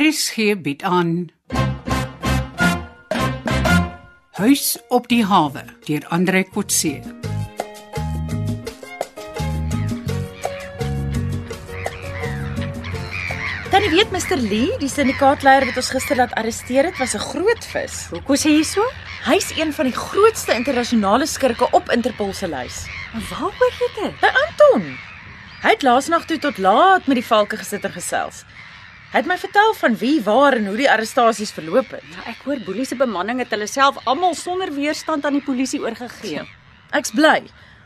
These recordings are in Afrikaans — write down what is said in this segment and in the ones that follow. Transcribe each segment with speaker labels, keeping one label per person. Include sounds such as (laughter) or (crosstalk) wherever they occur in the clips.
Speaker 1: RSG bied aan Huis op die hawe deur Andre Kotse.
Speaker 2: Tannie weet Mr Lee, die syndikaatleier wat ons gister laat arresteer het, was 'n groot vis.
Speaker 3: Hoekom sê jy so?
Speaker 2: Hy's een van die grootste internasionale skurke op Interpol se lys.
Speaker 3: Waaroor het dit?
Speaker 2: By Anton. Hy het laasnag toe tot laat met die valke gesit en gesels. Hy het my vertel van wie, waar en hoe die arrestasies verloop het.
Speaker 3: Nou, ek hoor boelie se bemanning het hulle self almal sonder weerstand aan die polisie oorgegee.
Speaker 2: Ek's bly.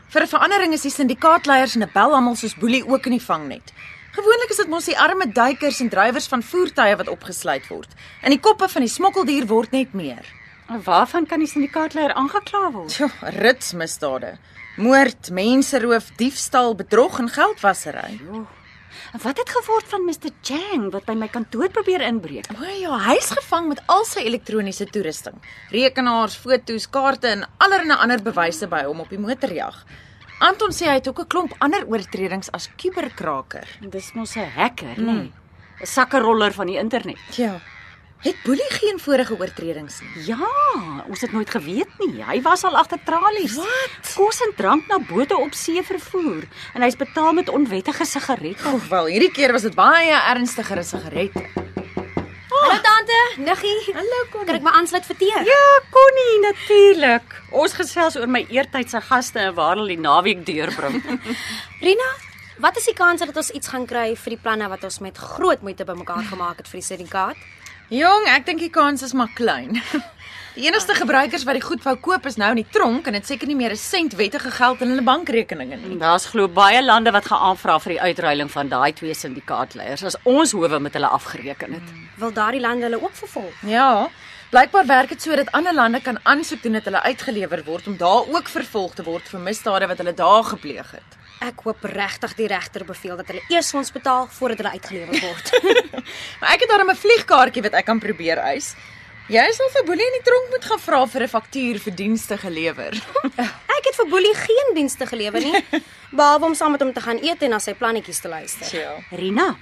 Speaker 2: Vir 'n verandering is die syndikaatleiers en 'n bel almal soos Boelie ook in die vangnet. Gewoonlik is dit mos die arme duikers en drywers van voertuie wat opgesluit word. In die koppe van die smokkeldier word net meer.
Speaker 3: En waarvan kan die syndikaatleier aangekla word?
Speaker 2: Tjoh, ritsmisdade. Moord, menseroof, diefstal, bedrog en geldwasery.
Speaker 3: En wat het geword van Mr Chang wat by my kantoor probeer inbreek?
Speaker 2: O ja, hy's gevang met al sy elektroniese toerusting. Rekenaars, fotos, kaarte en allerlei ander bewyse by hom op die motorjag. Anton sê hy het ook 'n klomp ander oortredings as kuberkraker.
Speaker 3: Dis mos 'n hacker, nê? Nee. 'n Sakkeroller van die internet.
Speaker 2: Ja. Het Boelie geen vorige oortredings nie.
Speaker 3: Ja, ons het nooit geweet nie. Hy was al agter tralies.
Speaker 2: Wat?
Speaker 3: Kos en drank na bote op see vervoer en hy's betaal met onwettige sigarette.
Speaker 2: Oef, wel, hierdie keer was dit baie ernstiger as sigarette.
Speaker 4: Hallo tante, niggie.
Speaker 2: Ah. Hallo Connie.
Speaker 4: Kan ek my aansluit vir tee?
Speaker 3: Ja, Connie, natuurlik. Ons gesels oor my eertyd se gaste en waar hulle die naweek deurbring.
Speaker 4: Rina, wat is die kans dat ons iets gaan kry vir die planne wat ons met groot moeite bymekaar gemaak het vir die syndikaat?
Speaker 2: Jong, ek dink die kans is maar klein. (laughs) Die enigste gebruikers wat die goed wou koop is nou in die tronk en dit seker nie meer 'n sent wettige geld in hulle bankrekeninge nie.
Speaker 3: Daar's glo baie lande wat gaan aanvra vir die uitruiling van daai twee syndikaatleiers as ons howe met hulle afgereken het.
Speaker 4: Wil daardie lande hulle ook vervolg?
Speaker 2: Ja, blykbaar werk dit sodat ander lande kan aansoek doen dat hulle uitgelewer word om daar ook vervolg te word vir misdade wat hulle daar gepleeg het. (laughs)
Speaker 4: Ek hoop regtig die regter beveel dat hulle eers ons betaal voordat hulle uitgelewer
Speaker 2: (laughs)
Speaker 4: word.
Speaker 2: Maar ek het daarom 'n vliegkaartjie wat ek kan probeer eis. Jy sal vir Boelie in die tronk moet gaan vra vir 'n faktuur vir dienste gelewer. (laughs)
Speaker 4: ek het vir Boelie geen dienste gelewer nie, behalwe om saam met hom te gaan eet en na sy plannetjies te luister.
Speaker 2: Ja.
Speaker 3: Rina,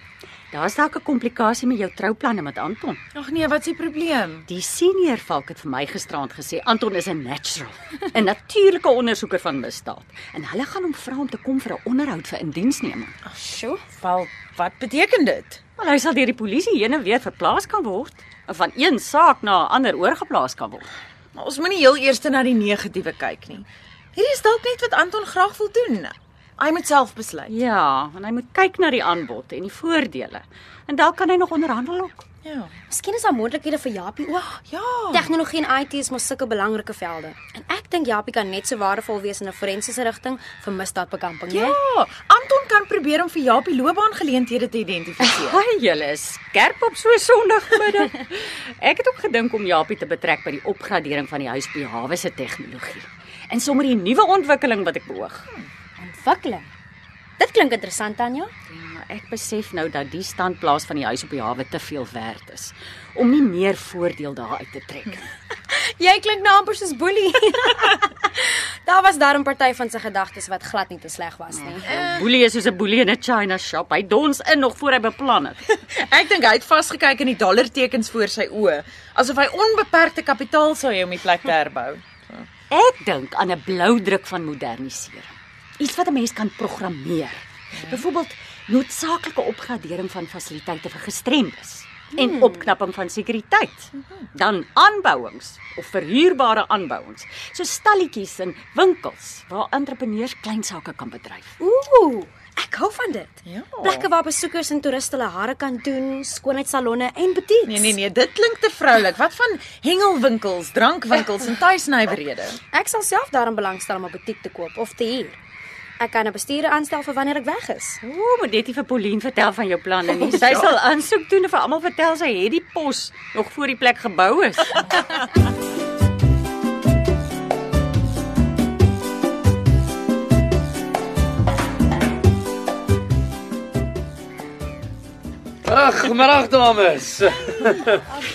Speaker 3: daar's dalk 'n komplikasie met jou trouplanne met Anton.
Speaker 2: Ag nee, wat's die probleem?
Speaker 3: Die senior valk het vir my gisterand gesê Anton is 'n (laughs) natural, 'n natuurlike ondersoeker van misdaad en hulle gaan hom vra om te kom vir 'n onderhoud vir indiensneming.
Speaker 2: Sjoe, wel, wat beteken dit?
Speaker 3: Wel, hy sal deur die polisie heen en weer verplaas kan word en van een saak na 'n ander oorgeplaas kan word.
Speaker 2: Maar ons moenie heel eers na die negatiewe kyk nie. Hierdie is dalk net wat Anton graag wil doen. Hy moet self besluit.
Speaker 3: Ja, en hy moet kyk na die aanbod en die voordele. En dalk kan hy nog onderhandel ook.
Speaker 2: Ja.
Speaker 4: Miskien is daar moontlikhede vir Japie ook.
Speaker 2: Ja.
Speaker 4: Tegnologie en IT is mos sulke belangrike velde. En ek dink Japie kan net so waardevol wees in 'n forensiese rigting vir misdaadbekamping, né?
Speaker 2: Ja, Anton kan probeer om vir Japie loopbaangeleenthede te identifiseer.
Speaker 3: Haai, julle is skerp op so 'n Sondagmiddag. Ek het ook gedink om Japie te betrek by die opgradering van die huis by hawe se tegnologie en sommer die nuwe ontwikkeling wat ek beoog.
Speaker 4: Ontwikkeling. Dit klink interessant, Tanya.
Speaker 3: Ja, ek besef nou dat die standplaas van die huis op die hawe te veel werd is om nie meer voordeel daaruit te trek nie.
Speaker 4: (laughs) Jy klink nou amper soos Boelie. (laughs) daar was daar 'n party van sy gedagtes wat glad nie te sleg was nie.
Speaker 3: Jou Nou, Boelie is soos 'n boelie in 'n China shop. Hy dons in nog voor hy beplan het.
Speaker 2: (laughs) Ek dink hy het vasgekyk in die dollartekens voor sy oë, asof hy onbeperkte kapitaal sou hê om die plek te herbou.
Speaker 3: Ek dink aan 'n blou druk van modernisering. Iets wat 'n mens kan programmeer. Byvoorbeeld noodsaaklike opgradering van fasiliteite vir gestremdes en opknapping van sekuriteit. Dan aanbouings of verhuurbare aanbouings, so stalletjies en winkels waar entrepreneurs klein sake kan bedryf.
Speaker 4: Ooh, ek hou van dit.
Speaker 2: Ja.
Speaker 4: Plekke waar besoekers en toeriste hulle hare kan doen, skoonheidssalonne en butieks.
Speaker 2: Nee nee nee, dit klink te vroulik. Wat van hengelwinkels, drankwinkels en tuisnywerhede?
Speaker 4: Ek sal self daarin belangstel om 'n butiek te koop of te huur. Ek kan 'n bestuurder aanstel vir wanneer ek weg is.
Speaker 3: Ooh, moet net nie vir Pauline vertel van jou planne nie. Sy sal aansoek doen en vir almal vertel sy het die pos nog voor die plek gebou is.
Speaker 5: Ag, goeiemôre
Speaker 3: (laughs)
Speaker 5: dames.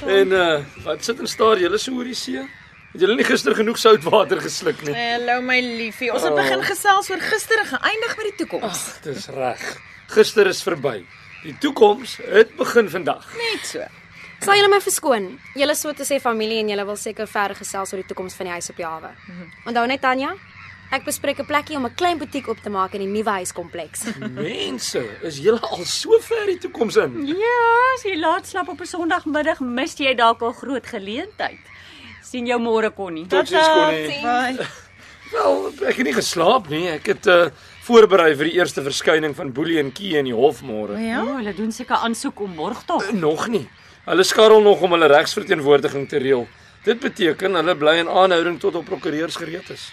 Speaker 5: en uh, wat sit en staar julle so oor die see? Het julle nie gister genoeg soutwater gesluk nie?
Speaker 2: Hallo my liefie, Oh. ons
Speaker 3: Nee.
Speaker 2: het begin gesels oor gister en geëindig met die toekoms.
Speaker 5: Dis reg. Gister is verby. Die toekoms het begin vandag.
Speaker 2: Net so.
Speaker 4: (laughs) Sal julle my verskoon. Julle is so te sê familie en julle wil seker verder gesels oor die toekoms van die huis op die hawe. Onthou net Tanya, ek bespreek 'n plekkie om 'n klein butiek op te maak in die nuwe huiskompleks.
Speaker 5: Mense, is julle al so ver die toekoms in?
Speaker 3: Ja, as jy laat slaap op 'n Sondagmiddag, mis jy dalk 'n groot geleentheid. sien jou môre Connie.
Speaker 2: Oh,
Speaker 5: Totsiens Connie.
Speaker 2: Bye.
Speaker 5: Wel, ek het nie geslaap nie. Ek het uh voorberei vir die eerste verskyning van Boelie en Kie in die hof môre. Eh,
Speaker 3: Ja, oh, hulle doen seker aansoek om borgtog.
Speaker 5: Nog nie. Hulle skarrel nog om hulle regsverteenwoordiging te reël. Dit beteken hulle bly in aanhouding tot hul prokureurs gereed is.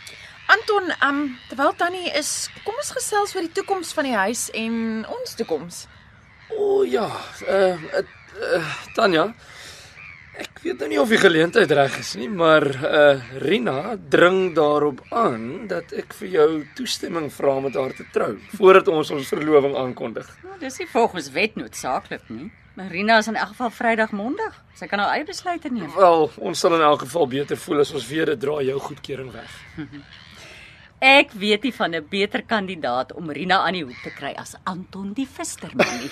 Speaker 2: Anton, ehm um, terwyl Tannie is, kom ons gesels oor die toekoms van die huis en ons toekoms.
Speaker 5: O oh, ja, eh uh, uh, Tanya, ek weet nou nie of die geleentheid reg is nie, maar eh uh, Rina dring daarop aan dat ek vir jou toestemming vra om met haar te trou voordat ons ons verloving aankondig.
Speaker 3: Nou, dis nie volgens wet noodsaaklik nie. Marina is in elk geval Vrydag Mondag. Sy kan haar eie besluite neem.
Speaker 5: Wel, ons sal in elk geval beter voel as ons weet dit dra jou goedkeuring weg.
Speaker 3: Ek weet nie van 'n beter kandidaat om Rina aan die hoek te kry as Anton die Visterman nie.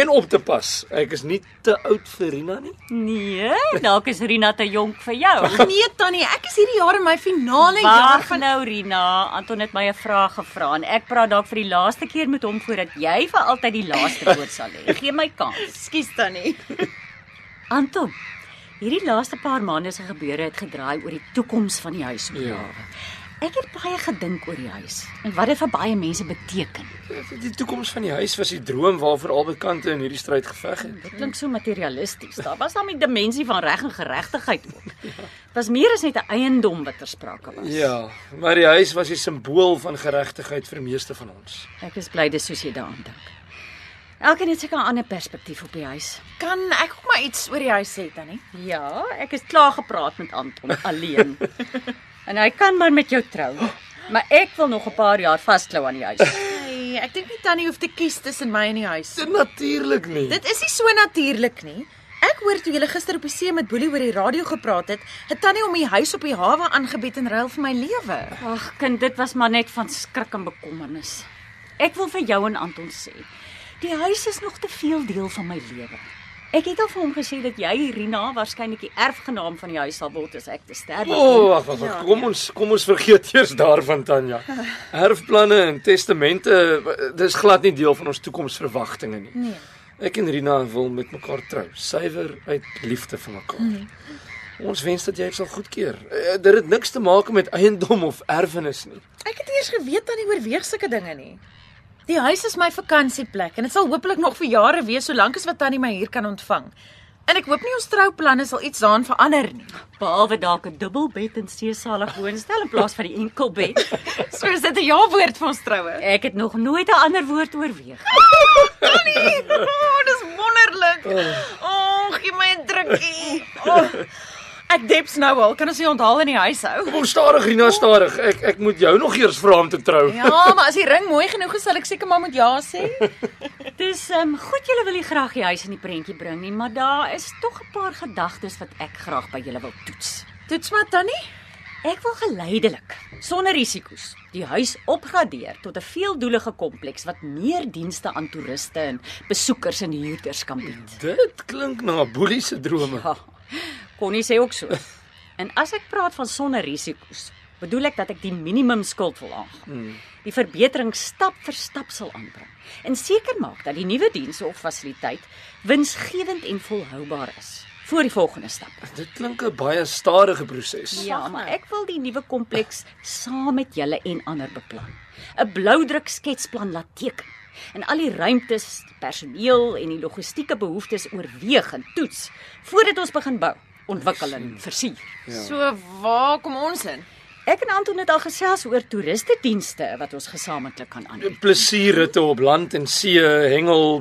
Speaker 5: En op te pas, ek is nie te oud vir Rina nie.
Speaker 3: Nee, dalk is Rina te jonk vir jou.
Speaker 2: Nee Tannie, ek is hierdie jaar in my finale jaar
Speaker 3: Wag
Speaker 2: van
Speaker 3: nou Rina, Anton het my 'n vraag gevra en ek praat dalk vir die laaste keer met hom voordat jy vir altyd die laaste woord sal hê. Gee my kans.
Speaker 2: Ekskuus Tannie.
Speaker 3: Anton, hierdie laaste paar maande se gebeure het gedraai oor die toekoms van die huis.
Speaker 5: Ja.
Speaker 3: Ek het baie gedink oor die huis en wat dit vir baie mense beteken.
Speaker 5: Die toekoms van die huis was die droom waarvoor albei kante in hierdie stryd geveg het.
Speaker 3: Dit klink so materialisties. Daar was dan die dimensie van reg en geregtigheid ook. Dit was meer as net 'n eiendom wat ter sprake was.
Speaker 5: Ja, maar die huis was die simbool van geregtigheid vir meeste van ons.
Speaker 3: Ek is bly dis soos jy daaraan dink. Elkeen het seker 'n ander perspektief op die huis.
Speaker 2: Kan ek ook maar iets oor die huis sê Tannie?
Speaker 3: Ja, ek is klaar gepraat met Anton (laughs) alleen. en hy kan maar met jou trou. Maar ek wil nog 'n paar jaar vasklou aan die huis.
Speaker 2: Nee, ek dink nie Tannie hoef te kies tussen my en die huis.
Speaker 5: Dit natuurlik nie.
Speaker 2: Dit is nie so natuurlik nie. Ek hoor toe julle gister op die see met Boelie oor die radio gepraat het, het Tannie om die huis op die hawe aangebied in ruil vir my lewe.
Speaker 3: Ag kind, dit was maar net van skrik en bekommernis. Ek wil vir jou en Anton sê, die huis is nog te veel deel van my lewe. Ek het al vir hom gesê dat jy Rina waarskynlik die erfgenaam van die huis sal word as ek te sterwe
Speaker 5: O, oh, wag, wag, wag. Kom ons kom ons vergeet eers daarvan Tanya. Erfplanne en testamente, w- dis glad nie deel van ons toekomsverwagtinge nie. Nee. Ek en Rina wil met mekaar trou, suiwer uit liefde vir mekaar. Nee. Ons wens dat jy dit sal goedkeur. Eh, Dit het niks te maak met eiendom of erfenis nie.
Speaker 2: Ek het eers geweet Tannie oorweeg sulke dinge nie. Die huis is my vakansieplek en dit sal hopelik nog vir jare wees solank as wat Tannie my hier kan ontvang. En ek hoop nie ons trouplanne sal iets daaraan verander nie.
Speaker 3: behalwe dalk 'n dubbelbed in seesale woonstel in plaas van die enkelbed.
Speaker 2: So is dit 'n ja-woord vir ons troue.
Speaker 3: Ek het nog nooit 'n ander woord oorweeg.
Speaker 2: Tannie, oh, dis wonderlik. O, oh, gee my 'n drukkie. Oh, ek deps nou al, kan ons nie onthaal in die huis hou.
Speaker 5: Kom stadig Rina, stadig. Ek ek moet jou nog eers vra om te trou.
Speaker 2: Ja, maar as die ring mooi genoeg is, sal ek seker maar moet ja sê.
Speaker 3: Dis ehm um, goed julle wil nie graag die huis in die prentjie bring nie, maar daar is tog 'n paar gedagtes wat ek graag by julle wil toets.
Speaker 2: Toets maar Tannie.
Speaker 3: Ek wil geleidelik, sonder risiko's, die huis opgradeer tot 'n veeldoelige kompleks wat meer dienste aan toeriste en besoekers en huurders kan bied.
Speaker 5: Dit klink na Boelie se drome.
Speaker 3: Ja. Connie sê ook so. En as ek praat van sonder risiko's, bedoel ek dat ek die minimum skuld wil aangaan. Hmm. Die verbetering stap vir stap sal aanbring en seker maak dat die nuwe dienste of fasiliteit winsgewend en volhoubaar is vir die volgende stap.
Speaker 5: Dit klink 'n baie stadige proses.
Speaker 3: Ja, maar ek wil die nuwe kompleks saam met julle en ander beplan. 'n Bloudruk sketsplan laat teken en al die ruimtes, die personeel en die logistieke behoeftes oorweeg en toets voordat ons begin bou, ontwikkel en versier.
Speaker 2: So waar kom ons in?
Speaker 3: Ek en Anton het al gesels oor toeriste dienste wat ons gesamentlik kan aanbied.
Speaker 5: plesierritte op land en see, hengel,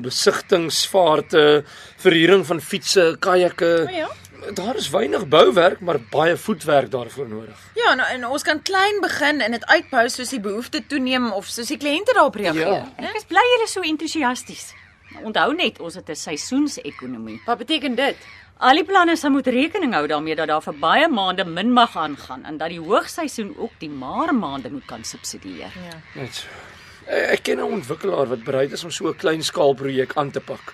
Speaker 5: besigtingsvaarte, verhuuring van fietses, kajakke.
Speaker 2: O ja.
Speaker 5: Daar is weinig bouwerk, maar baie voetwerk daarvoor nodig.
Speaker 2: Ja, nou, en ons kan klein begin en dit uitbou soos die behoefte toeneem of soos die kliënte daarop reageer.
Speaker 5: Ja.
Speaker 3: Ek is bly julle is so entoesiasties. Nou, Onthou net, ons het 'n seisoensekonomie.
Speaker 4: Wat beteken dit?
Speaker 3: Al die planne sal moet rekening hou daarmee dat daar vir baie maande min mag aangaan en dat die hoogseisoen ook die maar maande moet kan subsidieer.
Speaker 5: Net so. E, Ek ken 'n ontwikkelaar wat bereid is om so 'n kleinskaal projek aan te pak.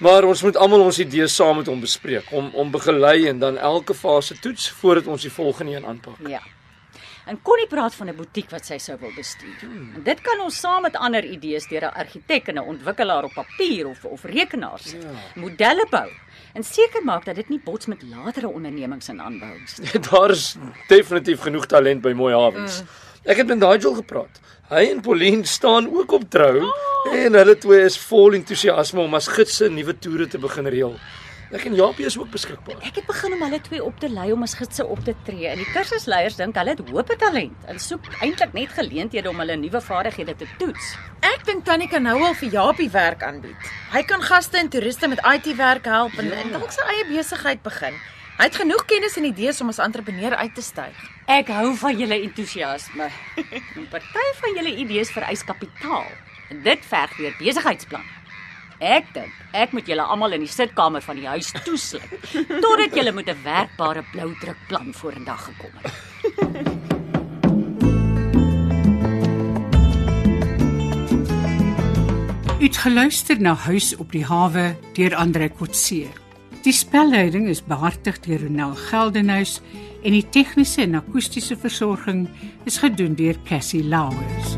Speaker 5: Maar ons moet almal ons idees saam met hom bespreek, om om begelei en dan elke fase toets voordat ons die volgende een aanpak.
Speaker 3: Ja. En Connie praat van 'n butiek wat sy sou wil bestuur. En dit kan ons saam met ander idees deur 'n argitek en 'n ontwikkelaar op papier of of rekenaars ja. modelle bou en seker maak dat dit nie bots met latere ondernemings en aanbouings
Speaker 5: (laughs)
Speaker 3: nie.
Speaker 5: Daar's definitief genoeg talent by Mooi Hawens. Ek het met Nigel gepraat. Hy en Pauline staan ook op trou en hulle twee is vol entoesiasme om as gidse nuwe toere te begin reël. Ek en Japie is ook beskikbaar.
Speaker 3: Ek het begin om hulle twee op te lei om as gidse op te tree en die kursusleiers dink hulle het hoop en talent en soek eintlik net geleenthede om hulle nuwe vaardighede te toets.
Speaker 2: Ek dink Tannie kan nou al vir Japie werk aanbied. Hy kan gaste en toeriste met IT werk help en, en dalk sy eie besigheid begin. Hy het genoeg kennis en idees om as entrepreneur uit te styg.
Speaker 3: Ek hou van julle entoesiasme. 'n Party van julle idees vereis kapitaal en dit verg weer besigheidsplan. Ek dink ek moet julle almal in die sitkamer van die huis toesluk totdat julle met 'n werkbare bloudrukplan vorendag gekom het.
Speaker 1: Uitgeluister na Huis op die hawe deur Andre Kotse. Die spelleiding is behartig deur Ronel Geldenhuys en die tegniese en akoestiese versorging is gedoen deur Cassie Lauers.